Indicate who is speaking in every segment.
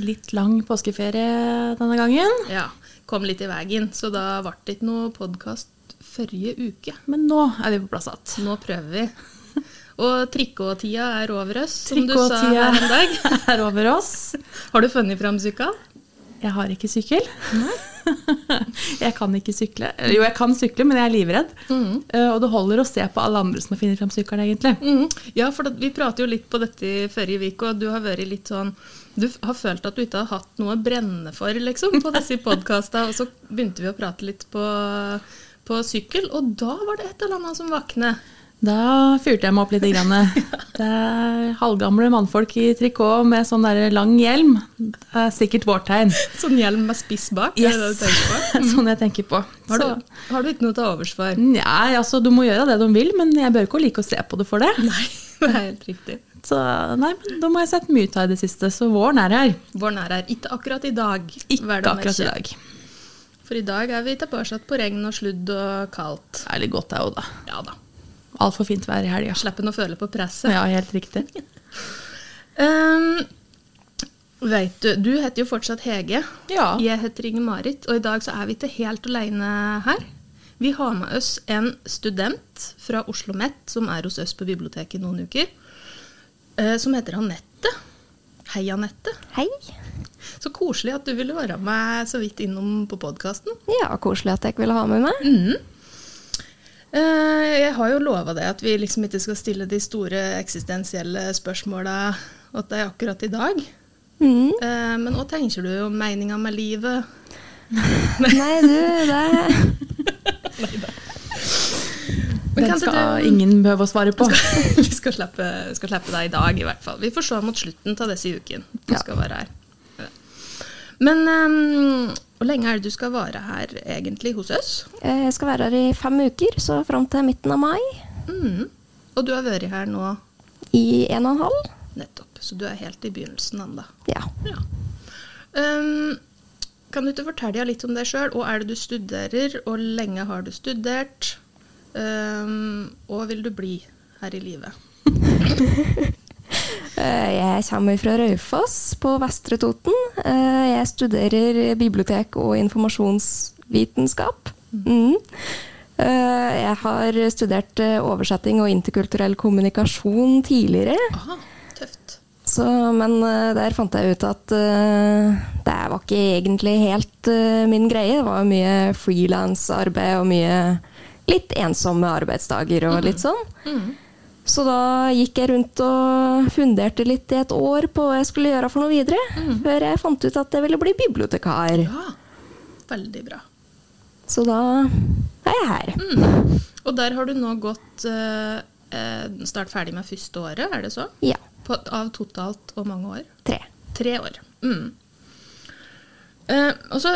Speaker 1: Litt lang påskeferie denne gangen,
Speaker 2: Ja, kom litt i veien, så da ble det ikke noe podkast forrige uke.
Speaker 1: men nå er vi på plass igjen.
Speaker 2: Nå prøver vi. Og trikkåtida er over oss, som du sa
Speaker 1: Trikkåtida
Speaker 2: her en dag.
Speaker 1: er over oss.
Speaker 2: Har du funnet fram sykkel?
Speaker 1: Jeg har ikke sykkel. jeg kan ikke sykle. Eller Jo, jeg kan sykle, men jeg er livredd. Eh, Og det holder å se på alle andre som har funnet fram sykkelen, egentlig.
Speaker 2: Mm. Ja, for at vi prater jo litt på dette i forrige uke, og du har vært litt sånn Du f- har følt at du ikke har hatt noe å brenne for, liksom, på disse podkastene. Og så begynte vi å prate litt på, på sykkel, og da var det et eller annet som vaknet.
Speaker 1: Da fyrte jeg meg opp litt. Grann. Det er halvgamle mannfolk i trikot med sånn der lang hjelm. Det er sikkert vårt tegn.
Speaker 2: Sånn hjelm med spiss bak. er det det du tenker på?
Speaker 1: sånn jeg tenker på.
Speaker 2: Har
Speaker 1: Så-
Speaker 2: du, har du ikke noe til overs for?
Speaker 1: Nei, altså, de må gjøre det de vil, men jeg bør ikke like å se på det for det.
Speaker 2: Nei, det er helt riktig.
Speaker 1: Så nei, men da må jeg sette mye av i det siste, så våren er her.
Speaker 2: Våren er her. Ikke akkurat i dag.
Speaker 1: Ikke
Speaker 2: vel å merke.
Speaker 1: akkurat i dag.
Speaker 2: For i dag er vi tilbake på regn og sludd og kaldt.
Speaker 1: Det er litt godt det òg, da.
Speaker 2: Ja da.
Speaker 1: Altfor fint vær i helga.
Speaker 2: Slipper en å føle på presset.
Speaker 1: Ja, helt riktig.
Speaker 2: Um, vet du, du heter jo fortsatt Hege.
Speaker 1: Ja.
Speaker 2: Jeg heter Inge-Marit, og i dag så er vi ikke helt alene her. Vi har med oss en student fra Oslo Met, som er hos oss på biblioteket i noen uker, eh, som heter Anette. Hei, Anette.
Speaker 3: Hei.
Speaker 2: Så koselig at du ville være med så vidt innom på podkasten.
Speaker 3: Ja, koselig at jeg ikke ville ha med meg.
Speaker 2: Eh, Jeg har jo lova deg at vi liksom ikke skal stille de store eksistensielle spørsmåla åt deg akkurat i dag.
Speaker 3: Mm.
Speaker 2: Eh, Men hva tenker du om meninga med livet?
Speaker 3: Nei, du, det
Speaker 2: Men
Speaker 1: Den
Speaker 2: kan
Speaker 1: skal
Speaker 2: du-
Speaker 1: ingen behøve å svare på.
Speaker 2: vi skal slippe, skal slippe deg i dag, i hvert fall. Vi får se mot slutten av disse ukene du
Speaker 3: Ja.
Speaker 2: skal være her. Men ehm, hvor lenge er det du skal være her egentlig hos oss?
Speaker 3: eh, Jeg skal være her i fem uker, så fram til midten av mai.
Speaker 2: Mhm. Og du har vært her nå
Speaker 3: I en og en halv.
Speaker 2: nettopp, så du er helt i begynnelsen ennå.
Speaker 3: Ja.
Speaker 2: Ja. Ehm, kan du ikke fortelle litt om deg sjøl? Hva er det du studerer, og lenge har du studert? Ehm, hva vil du bli her i livet?
Speaker 3: Eh, Jeg kommer fra Raufoss på Vestre Toten. Eh, Jeg studerer bibliotek og informasjonsvitenskap. Mm. Eh, Jeg har studert eh, oversetting og interkulturell kommunikasjon tidligere.
Speaker 2: Aha, tøft.
Speaker 3: Så, men eh, der fant jeg ut at eh, det var ikke egentlig helt eh, min greie. Det var mye frilansarbeid og mye litt ensomme arbeidsdager og
Speaker 2: Mm.
Speaker 3: litt sånn. Så da gikk jeg rundt og funderte litt i et år på hva jeg skulle gjøre for noe videre. Før jeg fant ut at jeg ville bli bibliotekar.
Speaker 2: Mm. Ja, veldig bra.
Speaker 3: Så da er jeg her.
Speaker 2: Mm. Og der har du nå gått eh, eh, snart ferdig med første året, er det så?
Speaker 3: Ja.
Speaker 2: På, av totalt hvor mange år?
Speaker 3: Tre.
Speaker 2: Tre år. Mm. Eh, og så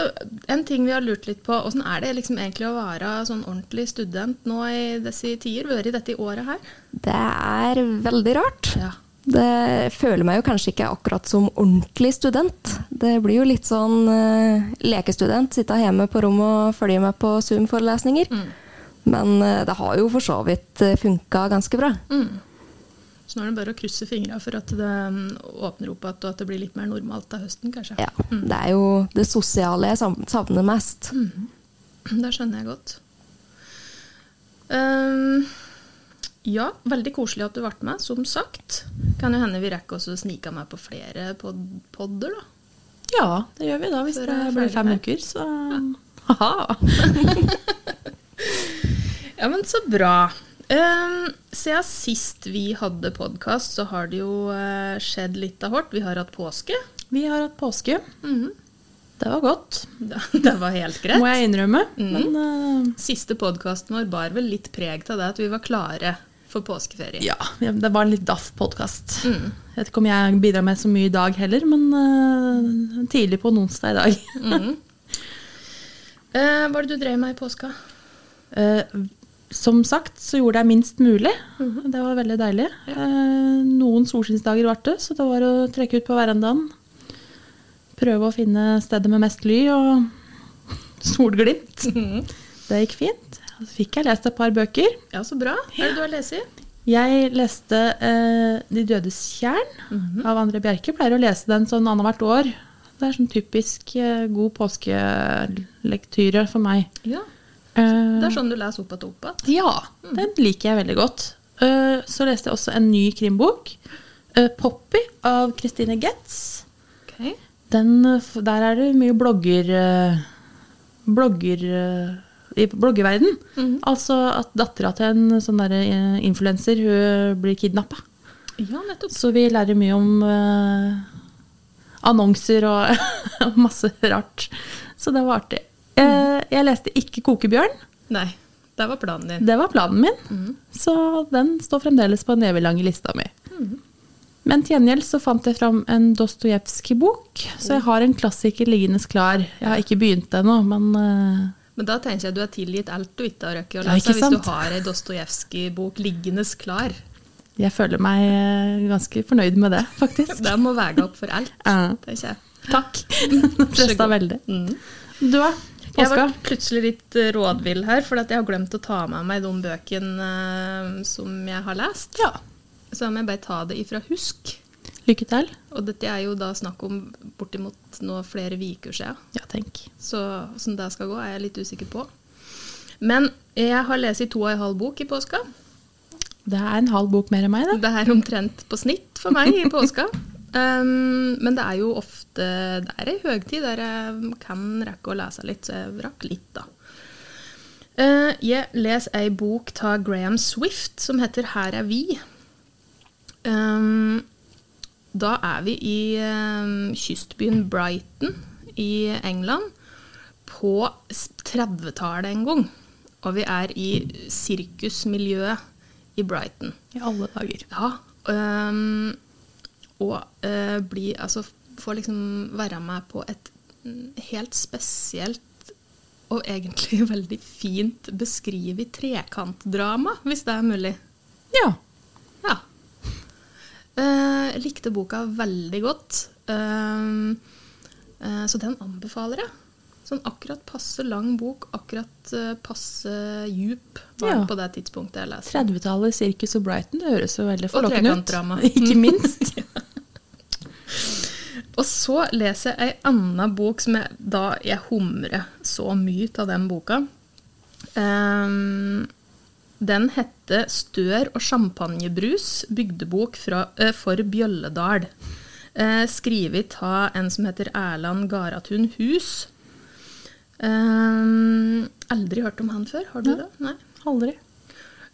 Speaker 2: En ting vi har lurt litt på, åssen er det liksom egentlig å være sånn ordentlig student nå i disse tider? Vært i dette i året her?
Speaker 3: Det er veldig rart.
Speaker 2: Ja.
Speaker 3: Det føler meg jo kanskje ikke akkurat som ordentlig student. Det blir jo litt sånn eh, lekestudent, sitte hjemme på rommet og følge med på Zoom-forelesninger. Men eh, det har jo for så vidt eh, funka ganske bra.
Speaker 2: Mm. Så nå er det bare å krysse fingra for at det mm, åpner opp igjen, og at det blir litt mer normalt til høsten, kanskje. Mm.
Speaker 3: Ja, Det er jo det sosiale jeg sam- savner mest.
Speaker 2: Det skjønner jeg godt. Ehm, ja, veldig koselig at du ble med, som sagt. Kan jo hende vi rekker også å snike meg på flere pod podder, da.
Speaker 1: Ja, det gjør vi da, hvis
Speaker 2: Før
Speaker 1: det
Speaker 2: jeg er
Speaker 1: blir
Speaker 2: ferdig
Speaker 1: fem
Speaker 2: her.
Speaker 1: uker, så Haha.
Speaker 2: Ja, men så bra. Ehm, siden sist vi hadde podkast, så har det jo eh, skjedd litt av hvert. Vi har hatt påske.
Speaker 1: Vi har hatt påske.
Speaker 2: Mhm.
Speaker 1: Det var godt,
Speaker 2: Det, det var helt greit.
Speaker 1: må jeg innrømme.
Speaker 2: Mhm.
Speaker 1: Men eh,
Speaker 2: Siste podkasten vår bar vel litt preg av det at vi var klare for påskeferie.
Speaker 1: eh, ja, det var en litt daff podkast.
Speaker 2: Mm.
Speaker 1: Jeg vet ikke om jeg bidrar med så mye i dag heller, men eh, tidlig på en onsdag i dag.
Speaker 2: Mhm. Eh, hva er det du drev med i påska?
Speaker 1: Eh, som sagt så gjorde jeg minst mulig. Det var veldig deilig. Eh, noen solskinnsdager ble det, så det var å trekke ut på verandaen. Prøve å finne stedet med mest ly og solglimt. Det gikk fint. Så fikk jeg lest et par bøker.
Speaker 2: Ja, så bra. Hva er det du har lest i?
Speaker 1: Jeg leste eh, De dødes tjern
Speaker 2: Mhm.
Speaker 1: av André Bjerke. Pleier å lese den sånn annethvert år. Det er sånn typisk eh, god påskelektyre for meg.
Speaker 2: Ja.
Speaker 1: Eh,
Speaker 2: Det er sånn Mhm. du leser opp igjen og opp igjen.
Speaker 1: ja, den liker jeg veldig godt. Eh, Så leste jeg også en ny krimbok. eh, 'Poppy' av Christine Getz.
Speaker 2: Ok.
Speaker 1: Den, eh, f- der er det mye blogger... eh, blogger eh, i bloggerverden.
Speaker 2: Mhm.
Speaker 1: Altså at dattera til en sånn derre influenser, hun blir kidnappa.
Speaker 2: Ja, nettopp.
Speaker 1: Så vi lærer mye om eh, annonser og masse rart. Så det var artig. Eh, jeg leste ikke 'Kokebjørn'.
Speaker 2: Nei, der var planen din.
Speaker 1: Det var planen min, så den står fremdeles på den evig lange lista mi. Men til gjengjeld så fant jeg fram en Dostojevskij-bok, så jeg har en klassiker liggende klar. Jeg har ikke begynt ennå, men eh,
Speaker 2: Men da tenker jeg du er tilgitt alt du ikke har rukket å
Speaker 1: Ja,
Speaker 2: lese,
Speaker 1: ikke
Speaker 2: hvis
Speaker 1: sant?
Speaker 2: du har ei Dostojevskij-bok liggende klar.
Speaker 1: jeg føler meg eh, ganske fornøyd med det, faktisk.
Speaker 2: Det må veie opp for alt,
Speaker 1: Ja.
Speaker 2: tenker jeg. Mm.
Speaker 1: Takk. Det presta veldig. Du, da?
Speaker 2: Jeg
Speaker 1: Påska?
Speaker 2: var plutselig litt eh, rådvill her, for at jeg har glemt å ta med meg de bøkene eh, som jeg har lest.
Speaker 1: Ja.
Speaker 2: Så da må jeg bare ta det ifra husk.
Speaker 1: Lykke til.
Speaker 2: Og dette er jo da snakk om bortimot nå flere uker siden.
Speaker 1: Ja, tenk.
Speaker 2: Så hvordan det skal gå, er jeg litt usikker på. Men jeg har lest i to og en halv bok i påska.
Speaker 1: Det er en halv bok mer enn meg, det.
Speaker 2: Det er omtrent på snitt for meg i påska. Um, men det er jo ofte Det er ei høgtid der jeg kan rekke å lese litt, så jeg rakk litt, da. Eh, jeg leser ei bok av Graham Swift som heter 'Her er vi'. Um, da er vi i um, kystbyen Brighton i England på s- 30-tallet en gang. Og vi er i sirkusmiljøet i Brighton.
Speaker 1: I alle dager.
Speaker 2: Ja. øhm, og øh, bli Altså få liksom være med på et mm, helt spesielt og egentlig veldig fint beskrevet trekantdrama, hvis det er mulig.
Speaker 1: Ja.
Speaker 2: Ja. Eh, Jeg likte boka veldig godt. Ehm, eh, så den anbefaler jeg. Sånn akkurat passe lang bok, akkurat eh, passe djup var den
Speaker 1: Ja.
Speaker 2: på det tidspunktet jeg leste.
Speaker 1: 30-tallet, sirkus og Brighton, det høres jo
Speaker 2: Og
Speaker 1: veldig
Speaker 2: Mm.
Speaker 1: forlokkende ut.
Speaker 2: trekantdrama.
Speaker 1: Ikke minst.
Speaker 2: Og så leser jeg ei anna bok som jeg, da jeg humrer så mye av den boka. Ehm, den heter 'Stør og champagnebrus. Bygdebok fra, eh, for Bjølledal'. Eh, skrevet av en som heter Erland Garatun Hus. Ehm, aldri hørt om han før. Har du det? Nei.
Speaker 1: Aldri.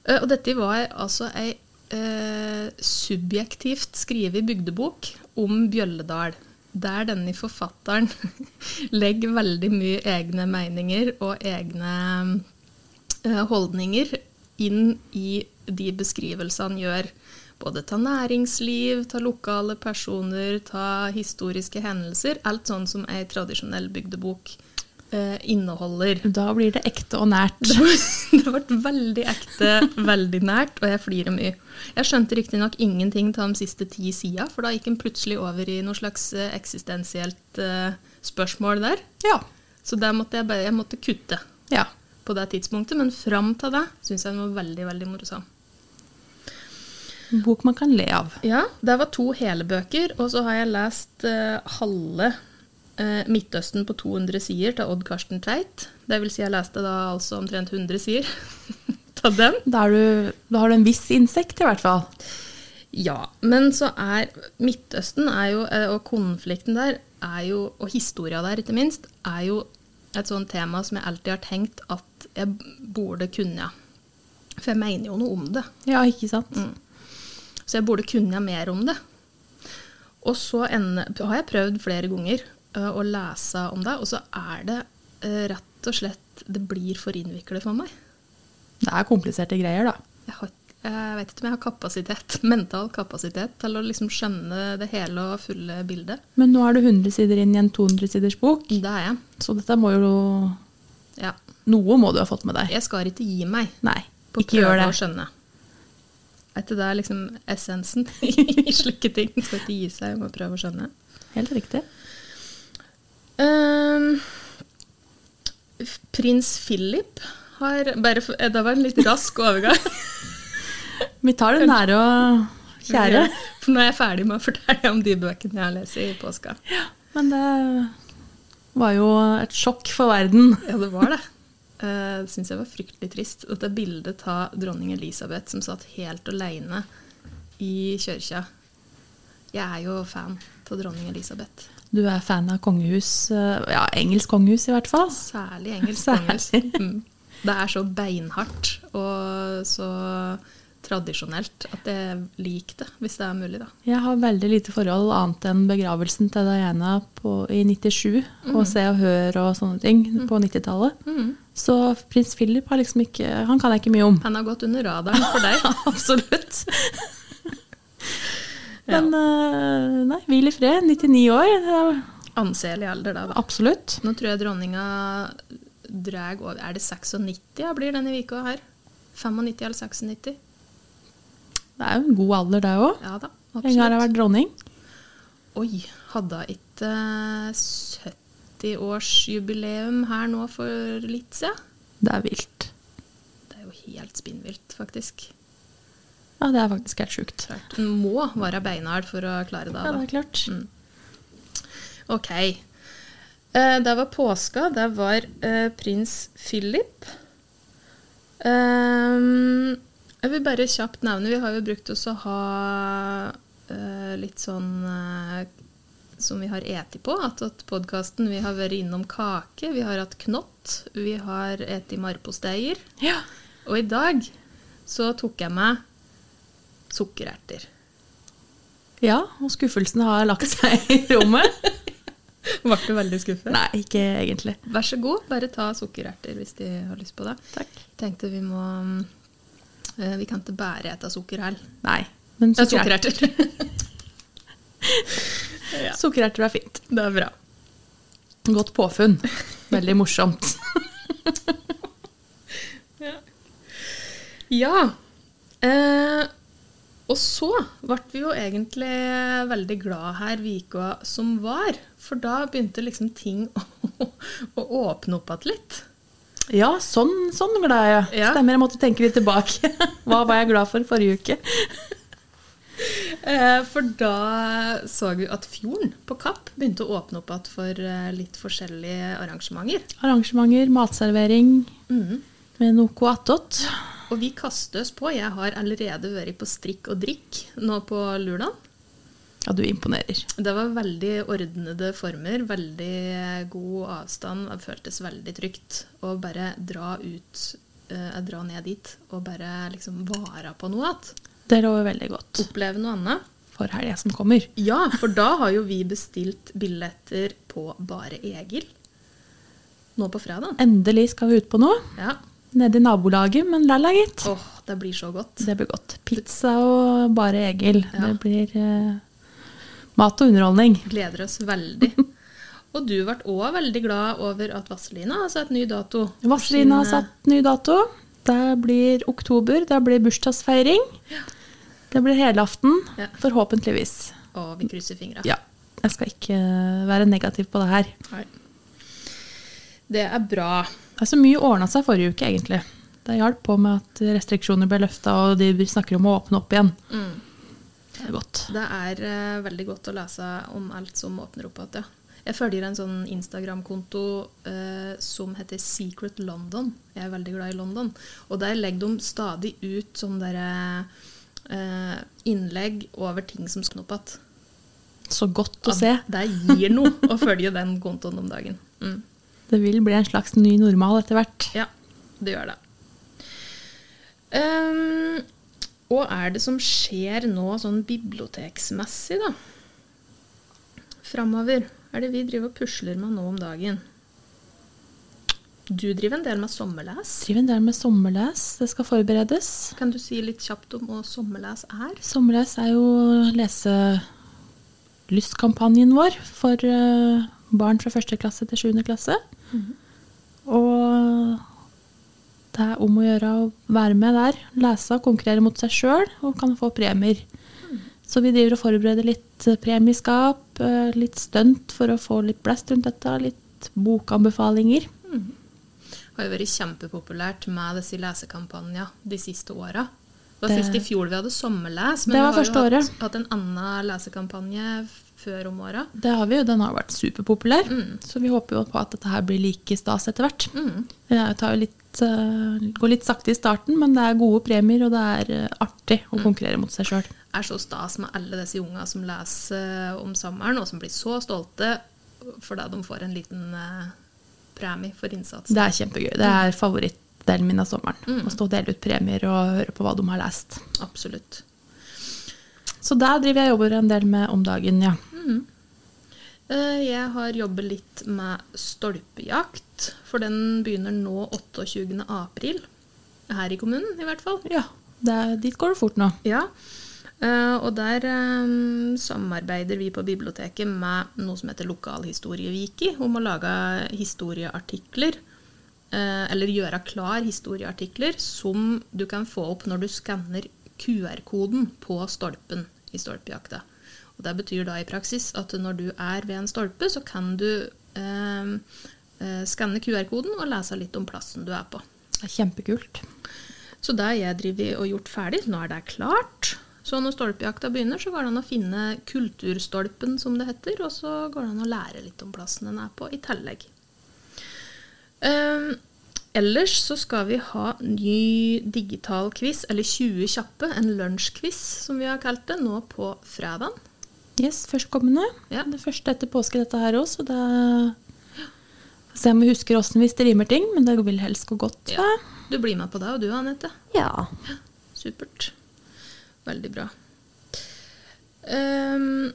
Speaker 2: Eh, Og dette var altså ei eh, subjektivt skrevet bygdebok om Bjølledal. Der denne forfatteren legger veldig mye egne meninger og egne eh, holdninger inn i de beskrivelsene han gjør. Både ta næringsliv, ta lokale personer, ta historiske hendelser. Alt sånn som ei tradisjonell bygdebok eh, inneholder.
Speaker 1: Da blir det ekte og nært.
Speaker 2: Det ble- det ble veldig ekte, veldig nært, og jeg flirer mye. Jeg skjønte riktignok ingenting av de siste ti sida, for da gikk en plutselig over i noe slags eh, eksistensielt eh, spørsmål der.
Speaker 1: Ja.
Speaker 2: Så der måtte jeg, bare, jeg måtte kutte
Speaker 1: ja.
Speaker 2: på det tidspunktet, men fram til det syns jeg den var veldig, veldig morsom.
Speaker 1: En bok man kan le av.
Speaker 2: Ja, det var to hele bøker, og så har jeg lest eh, halve eh, Midtøsten på 200 sider av Odd Karsten Tveit. Det vil si jeg leste da altså omtrent 100 sider av den.
Speaker 1: Da, er du, da har du en viss insekt, i hvert fall.
Speaker 2: Ja, men så er Midtøsten er jo, eh, og konflikten der, er jo, og historia der ikke minst, er jo et sånt tema som jeg alltid har tenkt at jeg burde kunne. For jeg mener jo noe om det.
Speaker 1: Ja, ikke sant?
Speaker 2: Så jeg burde kunne mer om det. Og så ende, har jeg prøvd flere ganger ø, å lese om det, og så er det ø, rett og slett Det blir for innviklet for meg.
Speaker 1: Det er kompliserte greier, da.
Speaker 2: Jeg, har, jeg vet ikke om jeg har kapasitet, mental kapasitet til å liksom skjønne det hele og fulle bildet.
Speaker 1: Men nå er du 100 sider inn i en 200 siders bok,
Speaker 2: Det er jeg.
Speaker 1: så dette må jo
Speaker 2: Ja.
Speaker 1: Noe må du ha fått med deg.
Speaker 2: Jeg skal ikke gi meg
Speaker 1: Nei,
Speaker 2: på
Speaker 1: ikke gjør
Speaker 2: prøve
Speaker 1: det.
Speaker 2: å skjønne. Vet du, Det er liksom essensen i slike ting. Man skal ikke gi seg, man må prøve å skjønne.
Speaker 1: Helt riktig.
Speaker 2: Ehm, f- Prins Philip har bare for, eh, Det var en litt rask overgang.
Speaker 1: Vi tar det nære og kjære.
Speaker 2: For nå er jeg ferdig med å fortelle om de bøkene jeg har lest i påska.
Speaker 1: Men det var jo et sjokk for verden.
Speaker 2: Ja, det var det. Eh, Det syns jeg var fryktelig trist. Dette bildet av dronning Elisabeth som satt helt aleine i kirka. Jeg er jo fan av dronning Elisabeth.
Speaker 1: Du er fan av kongehus, eh, ja, engelsk kongehus i hvert fall.
Speaker 2: Særlig engelsk
Speaker 1: Særlig.
Speaker 2: kongehus. Mm. Det er så beinhardt og så tradisjonelt at jeg liker det, hvis det er mulig, da.
Speaker 1: Jeg har veldig lite forhold annet enn begravelsen til Diana på, i 97, og Se og Hør og sånne ting på 90-tallet. Så prins Philip har liksom ikke, han kan jeg ikke mye om.
Speaker 2: Han har gått under radaren for deg.
Speaker 1: Absolutt.
Speaker 2: Ja.
Speaker 1: Men eh, nei, hvil i fred. 99 år. det er
Speaker 2: Anselig alder, da. da.
Speaker 1: Absolutt.
Speaker 2: Nå tror jeg dronninga drar over Er det 96 ja, blir denne uka her? 95 eller 96?
Speaker 1: Det er jo en god alder, det òg.
Speaker 2: Ja da,
Speaker 1: Lenge har jeg
Speaker 2: absolutt.
Speaker 1: vært dronning.
Speaker 2: Oi, hadde hun ikke eh, 70-årsjubileum her nå for litt siden?
Speaker 1: Det er vilt.
Speaker 2: Det er jo helt spinnvilt, faktisk.
Speaker 1: Ja, det er faktisk helt sjukt.
Speaker 2: En må være beinhard for å klare det.
Speaker 1: Ja, det
Speaker 2: Da.
Speaker 1: er klart.
Speaker 2: Ok. Eh, Det var påska. Det var eh, prins Philip. Ehm, jeg vil bare kjapt nevne Vi har jo brukt oss å ha eh, litt sånn eh, som vi har eti på. At, at podkasten Vi har vært innom kake, vi har hatt knott, vi har eti marposteier.
Speaker 1: Ja.
Speaker 2: Og i dag så tok jeg meg sukkererter.
Speaker 1: ja, og skuffelsen har lagt seg i rommet.
Speaker 2: Ble du veldig skuffet?
Speaker 1: Nei, ikke egentlig.
Speaker 2: Vær så god, bare ta sukkererter hvis de har lyst på det.
Speaker 1: Takk.
Speaker 2: Tenkte vi må eh, Vi kan ikke bare ete sukker her.
Speaker 1: Nei. Men
Speaker 2: Ja,
Speaker 1: sukkererter
Speaker 2: sukkererter. ja.
Speaker 1: sukkererter er fint.
Speaker 2: Det er bra.
Speaker 1: Godt påfunn. Veldig morsomt.
Speaker 2: Ja. Eh, og så ble vi jo egentlig veldig glad her vika som var. For da begynte liksom ting å, å åpne opp igjen litt.
Speaker 1: Ja, sånn, sånn glad er jeg.
Speaker 2: Ja.
Speaker 1: Stemmer, jeg måtte tenke litt tilbake. Hva var jeg glad for forrige uke?
Speaker 2: Eh, for da så vi at fjorden på Kapp begynte å åpne opp igjen for eh, litt forskjellige arrangementer.
Speaker 1: Arrangementer, matservering Mm.
Speaker 2: Mhm.
Speaker 1: med noe attåt.
Speaker 2: Og vi kaster oss på. Jeg har allerede vært på strikk og drikk nå på Lurdan.
Speaker 1: Ja, du imponerer.
Speaker 2: Det var veldig ordnede former, veldig god avstand. Det føltes veldig trygt å bare dra ut, eh, dra ned dit og bare liksom vare på noe igjen.
Speaker 1: Det lover veldig godt
Speaker 2: Oppleve noe annet.
Speaker 1: for helga som kommer.
Speaker 2: Ja, for da har jo vi bestilt billetter på Bare Egil nå på fredag.
Speaker 1: Endelig skal vi ut på noe.
Speaker 2: Ja.
Speaker 1: Nede i nabolaget, men lalla, gitt.
Speaker 2: Åh, det blir så godt.
Speaker 1: Det blir godt. Pizza og bare Egil.
Speaker 2: Ja.
Speaker 1: Det blir eh, mat og underholdning.
Speaker 2: Gleder oss veldig. Og du ble òg veldig glad over at Vazelina har satt ny dato. for
Speaker 1: Vazelina har
Speaker 2: sin, eh,
Speaker 1: satt ny dato. Det blir oktober. Det blir bursdagsfeiring. Det blir helaften.
Speaker 2: Ja.
Speaker 1: Forhåpentligvis.
Speaker 2: Og vi krysser fingra.
Speaker 1: Ja. Jeg skal ikke eh, være negativ på det her.
Speaker 2: Nei. Det er bra.
Speaker 1: Det er så mye ordna seg forrige uke, egentlig. Det hjalp på med at restriksjoner ble løfta, og de snakker om å åpne opp igjen.
Speaker 2: Mm.
Speaker 1: Det er godt.
Speaker 2: Det er eh, veldig godt å lese om alt som åpner opp igjen. Ja. Jeg følger en sånn Instagram-konto eh, som heter Secret London. Jeg er veldig glad i London. Og der legger de stadig ut sånne der, eh, innlegg over ting som skal opp igjen.
Speaker 1: Så godt å se.
Speaker 2: Det gir noe å følge den kontoen om dagen. Mm.
Speaker 1: Det vil bli en slags ny normal etter hvert.
Speaker 2: Ja, det gjør det. Ehm, og er det som skjer nå sånn biblioteksmessig, da? Framover. Er det vi driver og pusler med nå om dagen? Du driver en del med sommerles.
Speaker 1: Driver en del med sommerles. Det skal forberedes.
Speaker 2: Kan du si litt kjapt om hva sommerles er?
Speaker 1: Sommerles er jo leselystkampanjen vår for eh, barn fra første klasse til sjuende klasse. Og det er om å gjøre å være med der, lese og konkurrere mot seg sjøl, og kan få premier. Så vi driver og forbereder litt premieskap, eh, litt stunt for å få litt blest rundt dette, litt bokanbefalinger.
Speaker 2: har jo vært kjempepopulært med disse lesekampanjene de siste åra. Det var
Speaker 1: Det-
Speaker 2: sist i fjor vi hadde sommerles,
Speaker 1: Det
Speaker 2: men
Speaker 1: var
Speaker 2: vi har
Speaker 1: første
Speaker 2: jo hatt,
Speaker 1: året.
Speaker 2: hatt en annen lesekampanje før om åra.
Speaker 1: Det har vi jo, den har jo vært superpopulær,
Speaker 2: Mm.
Speaker 1: så vi håper jo på at dette her blir like stas etter hvert.
Speaker 2: Mm.
Speaker 1: Det er- tar jo litt, eh, går litt sakte i starten, men det er gode premier, og det er eh, artig
Speaker 2: Mm.
Speaker 1: å konkurrere mot seg sjøl.
Speaker 2: er så stas med alle disse unga som leser om sommeren, og som blir så stolte fordi de får en liten eh, premie for innsatsen.
Speaker 1: Det er kjempegøy. Det er favorittdelen min av sommeren.
Speaker 2: Mm.
Speaker 1: Å stå og dele ut premier og høre på hva de har lest.
Speaker 2: Absolutt.
Speaker 1: Så der driver jeg og jobber en del med om dagen, ja.
Speaker 2: Mm. Eh, Jeg har jobbet litt med stolpejakt, for den begynner nå 28. april. Her i kommunen, i hvert fall.
Speaker 1: Ja, det er, Dit går det fort nå.
Speaker 2: Ja, eh, og der eh, samarbeider vi på biblioteket med noe som heter Lokalhistorieviki, om å lage historieartikler, eh, eller gjøre klar historieartikler, som du kan få opp når du skanner QR-koden på stolpen i stolpejakta. Og det betyr da i praksis at når du er ved en stolpe, så kan du eh, eh, skanne QR-koden og lese litt om plassen du er på.
Speaker 1: Det er kjempekult.
Speaker 2: Så det har jeg drevet og gjort ferdig. Nå er det klart. Så når stolpejakta begynner, så går det an å finne kulturstolpen, som det heter, og så går det an å lære litt om plassen den er på, i tillegg. Ehm, ellers så skal vi ha ny digital quiz, eller 20 kjappe, en lunsjquiz, som vi har kalt det, nå på fredag.
Speaker 1: Yes, førstkommende.
Speaker 2: Ja.
Speaker 1: Det første etter påske, dette her òg, så det Får Se om vi husker åssen vi strimer ting, men det vil helst gå godt.
Speaker 2: Ja.
Speaker 1: Ja.
Speaker 2: Du blir med på det, og du, Anette.
Speaker 3: Ja.
Speaker 2: Supert. Veldig bra. Ehm,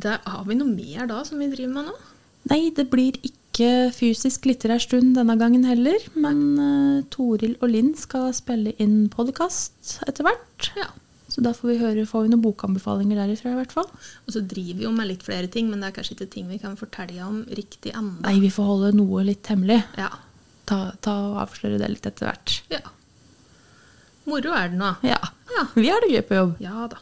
Speaker 2: der har vi noe mer da som vi driver med nå?
Speaker 1: Nei, det blir ikke fysisk litterærstund denne gangen heller, men eh, Toril og Linn skal spille inn podkast etter hvert.
Speaker 2: Ja.
Speaker 1: Så da får vi høre, får vi noen bokanbefalinger derifra i hvert fall.
Speaker 2: Og så driver vi jo med litt flere ting, men det er kanskje ikke ting vi kan fortelle om riktig ennå.
Speaker 1: Nei, vi får holde noe litt hemmelig.
Speaker 2: Ja.
Speaker 1: Ta, ta og avsløre det litt etter hvert.
Speaker 2: ja. Moro er det nå.
Speaker 1: Ja.
Speaker 2: Ja.
Speaker 1: Vi har det gøy på jobb.
Speaker 2: Ja da.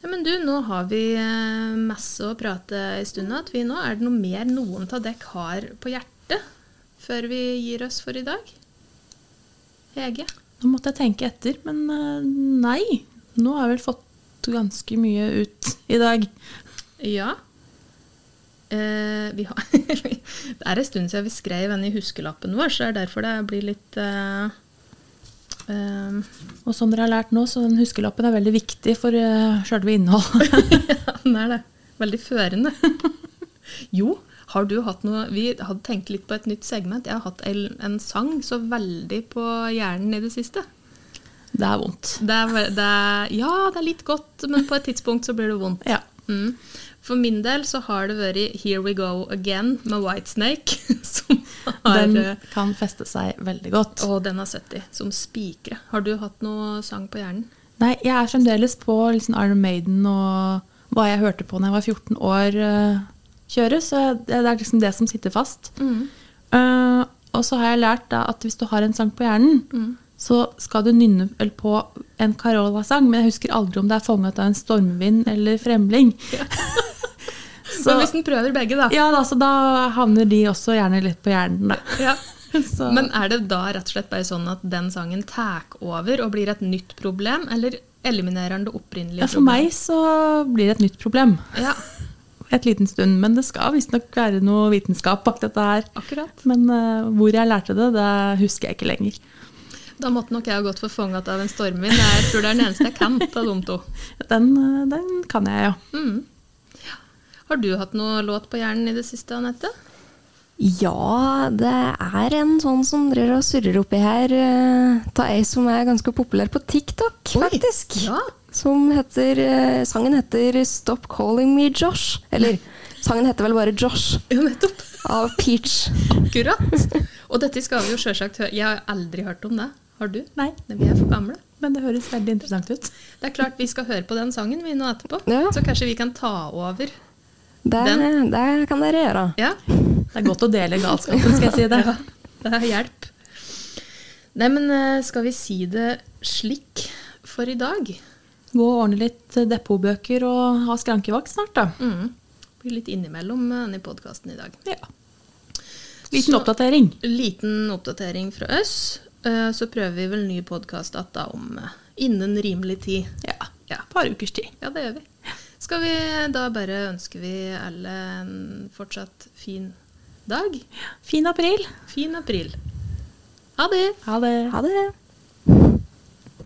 Speaker 2: Ja, men du, nå har vi eh, masse å prate en stund at vi nå. Er det noe mer noen av dere har på hjertet før vi gir oss for i dag? Hege?
Speaker 1: Nå måtte jeg tenke etter, men eh, nei. Nå har jeg vel fått ganske mye ut i dag.
Speaker 2: Ja. Eh, vi har det er en stund siden vi skrev den i huskelappen vår, så det er derfor det blir litt eh, eh,
Speaker 1: Og som dere har lært nå, så den huskelappen er veldig viktig for uh, sjølve innhold.
Speaker 2: Ja, den er det. Veldig førende. Jo, har du hatt noe Vi hadde tenkt litt på et nytt segment. Jeg har hatt en, en sang så veldig på hjernen i det siste.
Speaker 1: det er vondt.
Speaker 2: Det er, ve- det er, ja, det er litt godt, men på et tidspunkt så blir det vondt.
Speaker 1: Ja.
Speaker 2: Mm. For min del så har det vært 'Here We Go Again' med Whitesnake. Som har,
Speaker 1: Den
Speaker 2: eh,
Speaker 1: kan feste seg veldig godt.
Speaker 2: å, den er 70. Som spikre. Har du hatt noe sang på hjernen?
Speaker 1: Nei, jeg er fremdeles på liksom Iron Maiden og hva jeg hørte på da jeg var 14 år eh, kjøre, så jeg- det er liksom det som sitter fast.
Speaker 2: Mm.
Speaker 1: Eh, og så har jeg lært da at hvis du har en sang på hjernen,
Speaker 2: Mm.
Speaker 1: så skal du nynne vel på en Carola-sang, men jeg husker aldri om det er fanget av en stormvind eller fremling. så,
Speaker 2: Men hvis den prøver begge, da.
Speaker 1: ja, da, så da havner de også gjerne litt på hjernen, da.
Speaker 2: Ja.
Speaker 1: Så,
Speaker 2: Men er det da rett og slett bare sånn at den sangen tar over og blir et nytt problem, eller eliminerer den det opprinnelige
Speaker 1: ja, for meg så blir det et nytt problem.
Speaker 2: Ja,
Speaker 1: et liten stund, men det skal visstnok være noe vitenskap bak dette her.
Speaker 2: akkurat.
Speaker 1: Men eh, hvor jeg lærte det, det husker jeg ikke lenger.
Speaker 2: Da måtte nok jeg ha gått for fanget av en stormvind. Jeg tror det er den eneste jeg kan av de to.
Speaker 1: Den, eh, den kan jeg, ja.
Speaker 2: Har du hatt noe låt på hjernen i det siste, Anette?
Speaker 3: Ja, det er en sånn som driver og surrer oppi her. eh, Ta ei som er ganske populær på TikTok, faktisk.
Speaker 2: ja.
Speaker 3: Som heter eh, Sangen heter 'Stop Calling Me Josh'. Eller sangen heter vel bare 'Josh'
Speaker 2: Ja, nettopp.
Speaker 3: av Peach.
Speaker 2: Akkurat. Og dette skal vi jo sjølsagt høre. Jeg har aldri hørt om det. Har du?
Speaker 1: Nei,
Speaker 2: Nei, Vi er for gamle.
Speaker 1: men det høres veldig interessant ut.
Speaker 2: Det er klart vi skal høre på den sangen vi nå etterpå.
Speaker 3: Ja.
Speaker 2: Så kanskje vi kan ta over.
Speaker 3: Det,
Speaker 2: Den?
Speaker 3: det kan eh, dere gjøre.
Speaker 2: Ja.
Speaker 1: Det er godt å dele galskapen, skal jeg si det.
Speaker 2: Det er hjelp. Nei, men eh, skal vi si det slik for i dag?
Speaker 1: Gå og ordne litt depotbøker og ha skrankevakt snart, da.
Speaker 2: Mm. Blir litt innimellom eh, denne podkasten i dag.
Speaker 1: Ja. Liten
Speaker 2: Så-
Speaker 1: oppdatering.
Speaker 2: Liten oppdatering fra oss. eh, Så prøver vi vel ny podkast om eh, innen rimelig tid.
Speaker 1: Ja.
Speaker 2: Ja.
Speaker 1: Et par ukers tid.
Speaker 2: ja, det gjør vi. Skal vi da bare ønsker vi alle en fortsatt fin dag?
Speaker 1: Fin april.
Speaker 2: Fin april. Ha det!
Speaker 1: Ha det.
Speaker 3: Ha det.